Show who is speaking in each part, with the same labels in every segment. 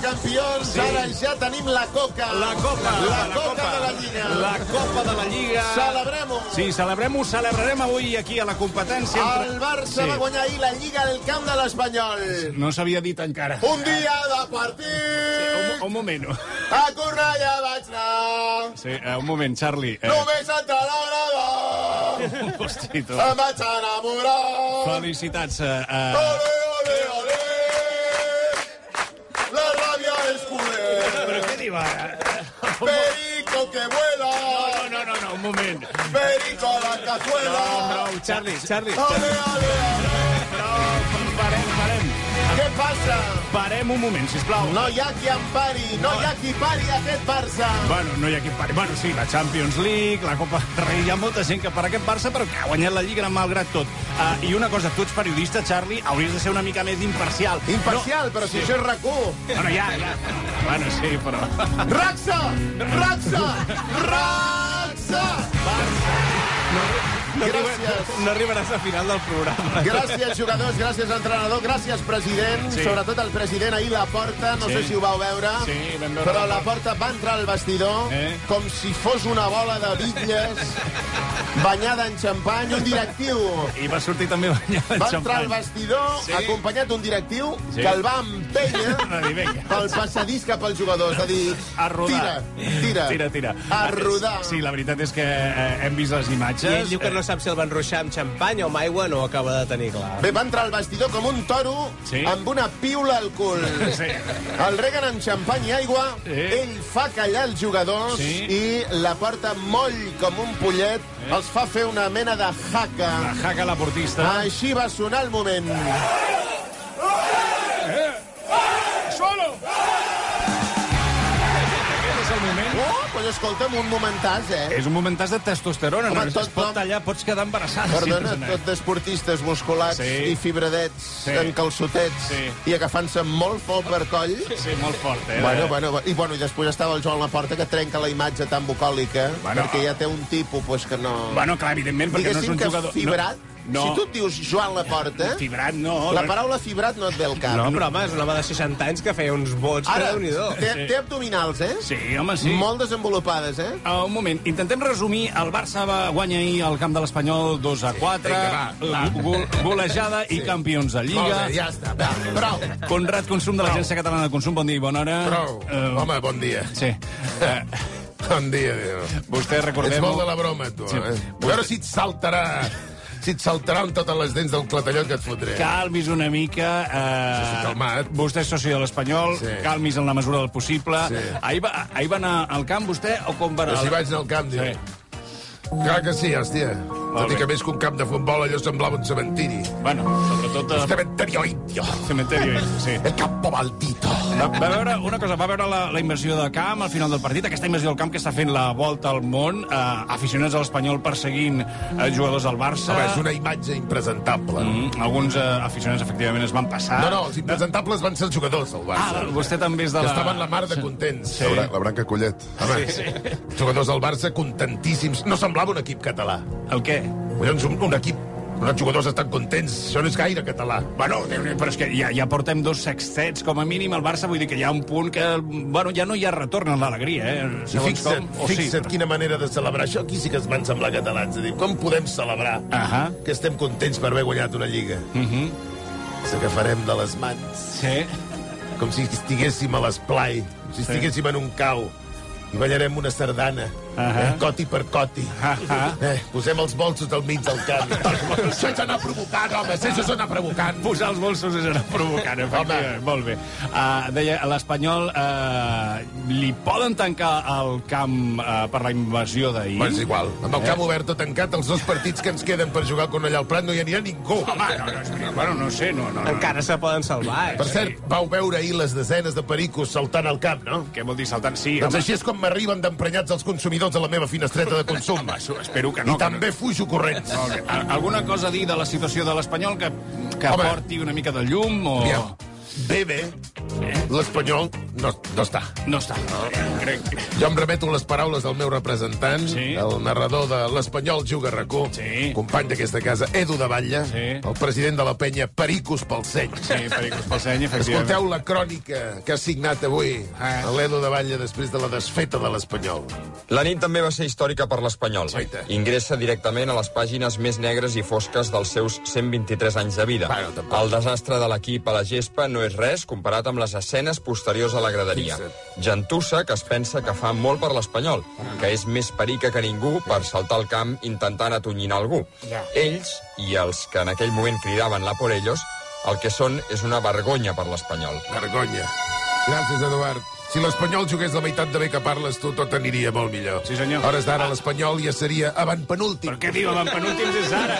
Speaker 1: Champions. Sí. Ara ja tenim la coca.
Speaker 2: La coca.
Speaker 1: La, la coca, copa. de la Lliga.
Speaker 2: La copa de la Lliga.
Speaker 1: Celebrem-ho.
Speaker 2: Sí, celebrem-ho. Celebrarem avui aquí a la competència.
Speaker 1: Entre... El Barça sí. va guanyar ahir la Lliga del camp de l'Espanyol.
Speaker 2: No s'havia dit encara.
Speaker 1: Un dia de partit. Sí,
Speaker 2: un, un moment.
Speaker 1: A Cornellà vaig anar.
Speaker 2: Sí, uh, un moment, Charlie.
Speaker 1: Eh... Només entra l'agradar.
Speaker 2: Hosti, tu.
Speaker 1: Em vaig enamorar.
Speaker 2: Felicitats. Uh, uh...
Speaker 1: Ole, ole, ole. La rabia es culé.
Speaker 2: Però què diu ara?
Speaker 1: Perico que vuela.
Speaker 2: No, no, no, no, un moment.
Speaker 1: Perico a la cazuela.
Speaker 2: No, no, Charlie, Charlie.
Speaker 1: Ole, ole, ole.
Speaker 2: No, parem, parem.
Speaker 1: Què passa?
Speaker 2: Parem un moment, sisplau.
Speaker 1: No hi ha qui em pari, no, no hi ha qui pari aquest Barça.
Speaker 2: Bueno, no hi ha qui pari. Bueno, sí, la Champions League, la Copa del Rei, hi ha molta gent que per aquest Barça, però que ha guanyat la Lliga malgrat tot. Uh, I una cosa, tu ets periodista, Charlie, hauries de ser una mica més imparcial.
Speaker 1: Imparcial, no. però si sí. això és rac
Speaker 2: Bueno, ja, ja. Bueno, sí, però...
Speaker 1: Raxa! Raxa! Raxa! Barça!
Speaker 2: No, gràcies. No, no arribaràs a final del programa.
Speaker 1: Gràcies, jugadors, gràcies, entrenador, gràcies, president. Sí. Sobretot el president ahir, la porta, no sí. sé si ho vau veure,
Speaker 2: sí, veure
Speaker 1: però la porta va entrar al vestidor eh? com si fos una bola de bitlles banyada en xampany, un directiu.
Speaker 2: I va sortir també banyada en
Speaker 1: Va entrar al vestidor, sí. acompanyat d'un directiu sí. que el va empènyer pel passadís cap als jugadors. A dir,
Speaker 2: a rodar.
Speaker 1: Tira, tira.
Speaker 2: Tira, tira. Ah,
Speaker 1: A rodar.
Speaker 2: Sí, la veritat és que eh, hem vist les imatges. Eh,
Speaker 3: I ell diu que no sap si el van ruixar amb xampany o amb aigua, no ho acaba de tenir clar.
Speaker 1: Bé, va entrar al vestidor com un toro sí. amb una piula al cul. Sí. El reguen amb xampany i aigua, sí. ell fa callar els jugadors sí. i la porta moll com un pollet, eh? els fa fer una mena de jaca.
Speaker 2: La jaca la portista.
Speaker 1: Així va sonar el moment.
Speaker 2: Eh? Solo! el moment.
Speaker 1: Oh, però escolta'm, un momentàs, eh?
Speaker 2: És un momentàs de testosterona. Home, no? tot, es pot tallar, pots quedar embarassada.
Speaker 1: Perdona, si tot d'esportistes musculats sí. i fibradets, sí. en calçotets, sí. i agafant-se molt fort per coll.
Speaker 2: Sí, molt fort, eh?
Speaker 1: Bueno, bueno, I, bueno, I després estava el Joan la porta que trenca la imatge tan bucòlica, bueno, perquè ja té un tipus pues, que no...
Speaker 2: Bueno, clar, evidentment, perquè
Speaker 1: Diguéssim
Speaker 2: no és un jugador...
Speaker 1: Diguéssim que fibrat, no. No. Si tu et dius Joan Laporta...
Speaker 2: Fibrat, no.
Speaker 1: La paraula fibrat no et ve al cap.
Speaker 3: No, però home, és un home de 60 anys que feia uns vots Ara, que déu
Speaker 1: té, sí. té abdominals, eh?
Speaker 2: Sí, home, sí.
Speaker 1: Molt desenvolupades, eh?
Speaker 2: Uh, un moment, intentem resumir. El Barça va guanyar ahir al camp de l'Espanyol 2 a 4. Sí, vinga, va, go golejada sí. i campions de Lliga.
Speaker 1: Molt bé, ja està, va, prou.
Speaker 2: Conrad Consum de l'Agència Catalana de Consum, bon dia i bona hora. Eh,
Speaker 4: Prou, uh, home, bon dia.
Speaker 2: Sí. Uh,
Speaker 4: Bon dia, Déu.
Speaker 2: Vostè, recordem...
Speaker 4: Ets molt de la broma, tu, sí. eh? Vostè... A veure si et saltarà si et saltaran totes les dents del clatellot que et fotré.
Speaker 2: Calmis una mica. Eh...
Speaker 4: Sí, calmat.
Speaker 2: Vostè és soci de l'Espanyol, sí. calmis en la mesura del possible. Sí. Ahir, va, ahir va anar al camp vostè o com va anar?
Speaker 4: Si vaig anar al camp, diu. Sí. Clar que sí, hòstia. Molt Tot i que més que un camp de futbol, allò semblava un cementiri.
Speaker 2: Bueno, sobretot... eh,
Speaker 4: De... Cementerio indio.
Speaker 2: Cementerio indio, sí.
Speaker 4: El campo maldito.
Speaker 2: Va, va veure una cosa, va veure la, la invasió de camp al final del partit, aquesta invasió del camp que està fent la volta al món, eh, aficionats a l'Espanyol perseguint eh, jugadors del Barça...
Speaker 4: Home, és una imatge impresentable.
Speaker 2: Mm, alguns eh, aficionats, efectivament, es van passar.
Speaker 4: No, no, els impresentables van ser els jugadors del Barça.
Speaker 2: Ah, vostè també és de
Speaker 4: la... Que estaven la mar de contents.
Speaker 5: Sí. La, la Branca Collet.
Speaker 4: Home, sí, sí. jugadors del Barça contentíssims. No semblava un equip català.
Speaker 2: El què?
Speaker 4: Collons, un, un equip els jugadors estan contents, això no és gaire català.
Speaker 2: Bueno, però és que ja, ja portem dos sextets, com a mínim, al Barça, vull dir que hi ha un punt que, bueno, ja no hi ha retorn en l'alegria, eh?
Speaker 4: Segons I fixa't, com, o fixa't sí. quina manera de celebrar, això aquí sí que es van semblar catalans, és a dir, com podem celebrar uh
Speaker 2: -huh.
Speaker 4: que estem contents per haver guanyat una lliga?
Speaker 2: Uh -huh.
Speaker 4: Se que farem de les mans.
Speaker 2: Sí.
Speaker 4: Com si estiguéssim a l'esplai, com si estiguéssim sí. en un cau i ballarem una sardana. Uh -huh. eh, coti per coti.
Speaker 2: Uh -huh.
Speaker 4: eh, posem els bolsos al mig del camp. això és anar provocant, home, això és anar provocant.
Speaker 2: Posar els bolsos és anar provocant, efectivament. Molt bé. Uh, deia, l'Espanyol uh, li poden tancar el camp uh, per la invasió d'ahir?
Speaker 4: Pues igual. Amb el camp eh? obert o tancat, els dos partits que ens queden per jugar con allà al Prat no hi anirà ningú.
Speaker 2: Home, no, no, no, bueno, no sé, no, no. no.
Speaker 3: Encara se poden salvar. Eh?
Speaker 4: Per cert, vau veure ahir les desenes de pericos saltant al camp, no?
Speaker 2: Què vol dir saltant? Sí,
Speaker 4: Doncs home. així és com m'arriben d'emprenyats els consumidors minuts a la meva finestreta de consum.
Speaker 2: Home, espero que no.
Speaker 4: I també no. fujo corrents.
Speaker 2: No, okay. Alguna cosa a dir de la situació de l'Espanyol que, que Home. porti una mica de llum o...
Speaker 4: Aviam. Bé, bé, l'Espanyol no, no està.
Speaker 2: No està. Crec...
Speaker 4: Jo em remeto les paraules del meu representant,
Speaker 2: Sí.
Speaker 4: el narrador de l'Espanyol Juga Racó,
Speaker 2: Sí.
Speaker 4: company d'aquesta casa, Edu de Batlle,
Speaker 2: Sí.
Speaker 4: el president de la penya Pericos pel Seny.
Speaker 2: Sí, pericos pel seny, efectivament.
Speaker 4: Escolteu la crònica que ha signat avui
Speaker 2: Ah.
Speaker 4: l'Edu de Batlle després de la desfeta de l'Espanyol.
Speaker 5: La nit també va ser històrica per l'Espanyol.
Speaker 4: Guaita.
Speaker 5: Ingressa directament a les pàgines més negres i fosques dels seus 123 anys de vida.
Speaker 4: Bueno, tampoc.
Speaker 5: El desastre de l'equip a la gespa no és res comparat amb les escenes posteriors a la graderia. Gentussa, que es pensa que fa molt per l'Espanyol, que és més perica que ningú per saltar al camp intentant atonyinar algú. Ells, i els que en aquell moment cridaven la por ellos, el que són és una vergonya per l'Espanyol.
Speaker 4: Vergonya. Gràcies, Eduard. Si l'Espanyol jugués la meitat de bé que parles tu, tot aniria molt millor.
Speaker 2: Sí, senyor.
Speaker 4: A Hores d'ara l'Espanyol ja seria avantpenúltim.
Speaker 2: Però què diu, en penúltims és ara.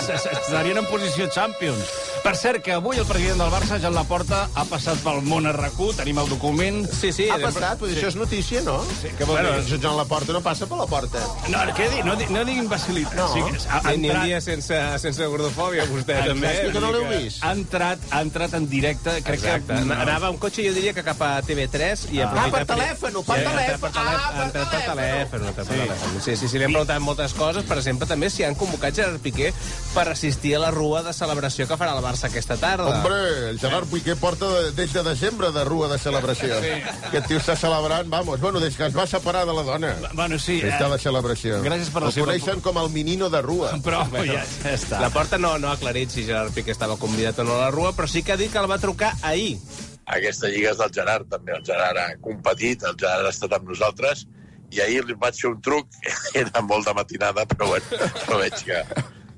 Speaker 2: S- s- Estarien en posició Champions. Per cert, que avui el president del Barça, Jan Laporta, ha passat pel món a RAC1, tenim el document.
Speaker 3: Sí, sí.
Speaker 1: Ha passat, però això és notícia, no? Sí,
Speaker 2: què vol dir?
Speaker 1: Jutjant la porta no passa per la porta.
Speaker 2: No, què dir? No, di- no diguin vacil·litat.
Speaker 1: No.
Speaker 2: que ha, ha
Speaker 3: Ni, ni un
Speaker 2: entrat-
Speaker 3: dia sense, sense gordofòbia, vostè,
Speaker 2: Exacte.
Speaker 3: també.
Speaker 1: És que no
Speaker 3: vull
Speaker 1: l'heu
Speaker 3: dir
Speaker 1: vist.
Speaker 2: ha entrat, ha entrat en directe, crec
Speaker 3: Exacte.
Speaker 2: que...
Speaker 3: No. Anava amb cotxe, jo diria que cap a TV3 i
Speaker 1: Ah, per
Speaker 3: aprofitar...
Speaker 1: telèfon, per telèfon.
Speaker 3: Ah,
Speaker 1: Ah,
Speaker 3: per telèfon. Per telèfon. Sí, sí, sí, li hem preguntat moltes coses. Per exemple, també si han convocat Gerard Piqué per assistir a la rua de celebració que farà el Barça aquesta tarda.
Speaker 1: Hombre, el Gerard Piqué porta de- des de desembre de rua de celebració. Sí. Aquest tio està celebrant, vamos, bueno, des que es va separar de la dona.
Speaker 2: Bueno, sí, eh,
Speaker 1: Està de celebració.
Speaker 2: Gràcies per la
Speaker 1: el
Speaker 2: seva-
Speaker 1: coneixen com el menino de rua.
Speaker 2: eh, però ja, ja està.
Speaker 3: La porta no, no ha aclarit si Gerard Piqué estava convidat o no a la rua, però sí que ha dit que el va trucar ahir.
Speaker 6: aquesta lliga és del Gerard, també. El Gerard ha competit, el Gerard ha estat amb nosaltres, i ahir li vaig fer un truc, era molt de matinada, però bueno, però veig que,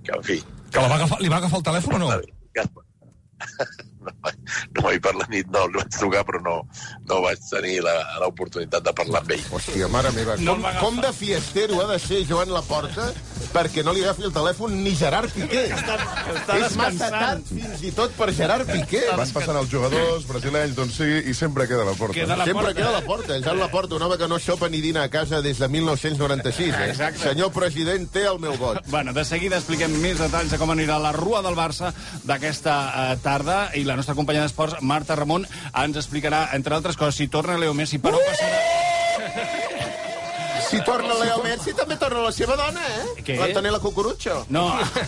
Speaker 6: que en fi,
Speaker 7: Que la va agafar, li va agafar el telèfon o no?
Speaker 6: que... No, no vaig per la nit, no, li vaig trucar, però no, no vaig tenir la- l'oportunitat de parlar amb ell.
Speaker 1: Hòstia, mare meva.
Speaker 2: No
Speaker 1: com,
Speaker 2: m'agafa.
Speaker 1: com de fiestero ha de ser Joan Laporta perquè no li agafi el telèfon ni Gerard Piqué. És massa
Speaker 2: descansant.
Speaker 1: tard fins i tot per Gerard Piqué.
Speaker 8: Van passant els jugadors brasilenys, doncs sigui, i sempre queda la porta.
Speaker 2: Queda la
Speaker 1: Sempre
Speaker 2: porta.
Speaker 1: queda a la porta. El Joan Laporta, un home que no sopa ni dina a casa des de 1996. Eh?
Speaker 2: Exacte.
Speaker 1: Senyor president, té el meu vot.
Speaker 2: Bueno, de seguida expliquem més detalls de com anirà la rua del Barça d'aquesta eh, tarda i la nostra companya d'esports, Marta Ramon, ens explicarà, entre altres coses, si torna Leo Messi per on passarà...
Speaker 1: Si torna Leo Messi, també torna la seva dona, eh?
Speaker 2: Què?
Speaker 1: L'Antonella Cucurutxo.
Speaker 2: No,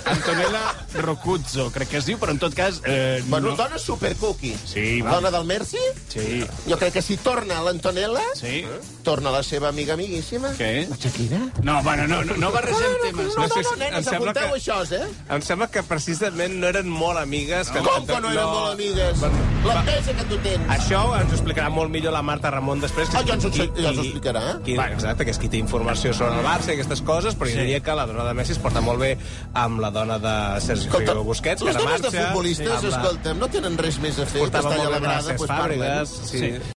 Speaker 2: Antonella Rocuzzo, crec que es diu, però en tot cas... Eh,
Speaker 1: Bueno,
Speaker 2: no.
Speaker 1: dona supercuqui.
Speaker 2: Sí, va.
Speaker 1: Dona del Merci?
Speaker 2: Sí,
Speaker 1: Jo crec que si torna l'Antonella,
Speaker 2: sí.
Speaker 1: torna la seva amiga amiguíssima.
Speaker 2: Què? La Shakira? No, bueno, no, no, no barregem temes.
Speaker 1: No,
Speaker 3: No
Speaker 1: no, no,
Speaker 3: sé si- em
Speaker 1: nenes,
Speaker 3: sembla
Speaker 1: apunteu
Speaker 3: que-
Speaker 1: això, eh?
Speaker 3: Em sembla que precisament no eren molt amigues. Que
Speaker 1: Com que no eren molt amigues? La pesa que tu tens.
Speaker 3: Això ens ho explicarà molt millor la Marta Ramon després.
Speaker 1: Ah, ja ens ho- ja ens ho explicarà. eh?
Speaker 3: Qui, bueno, exacte, que és qui té informació sobre el Barça i aquestes coses, però sí. jo diria que la dona de Messi es porta molt bé amb la dona de Sergio
Speaker 1: Escolta,
Speaker 3: Busquets, que
Speaker 1: les
Speaker 3: ara
Speaker 1: dones
Speaker 3: marxa.
Speaker 1: de futbolistes,
Speaker 3: amb la-
Speaker 1: escolta'm, no tenen res més a fer que
Speaker 3: Portava
Speaker 1: estar allà
Speaker 3: molt
Speaker 1: a
Speaker 3: bé
Speaker 1: la
Speaker 3: amb les
Speaker 1: grada,
Speaker 3: seves
Speaker 1: doncs parlen.
Speaker 3: fàbriques. Sí. sí.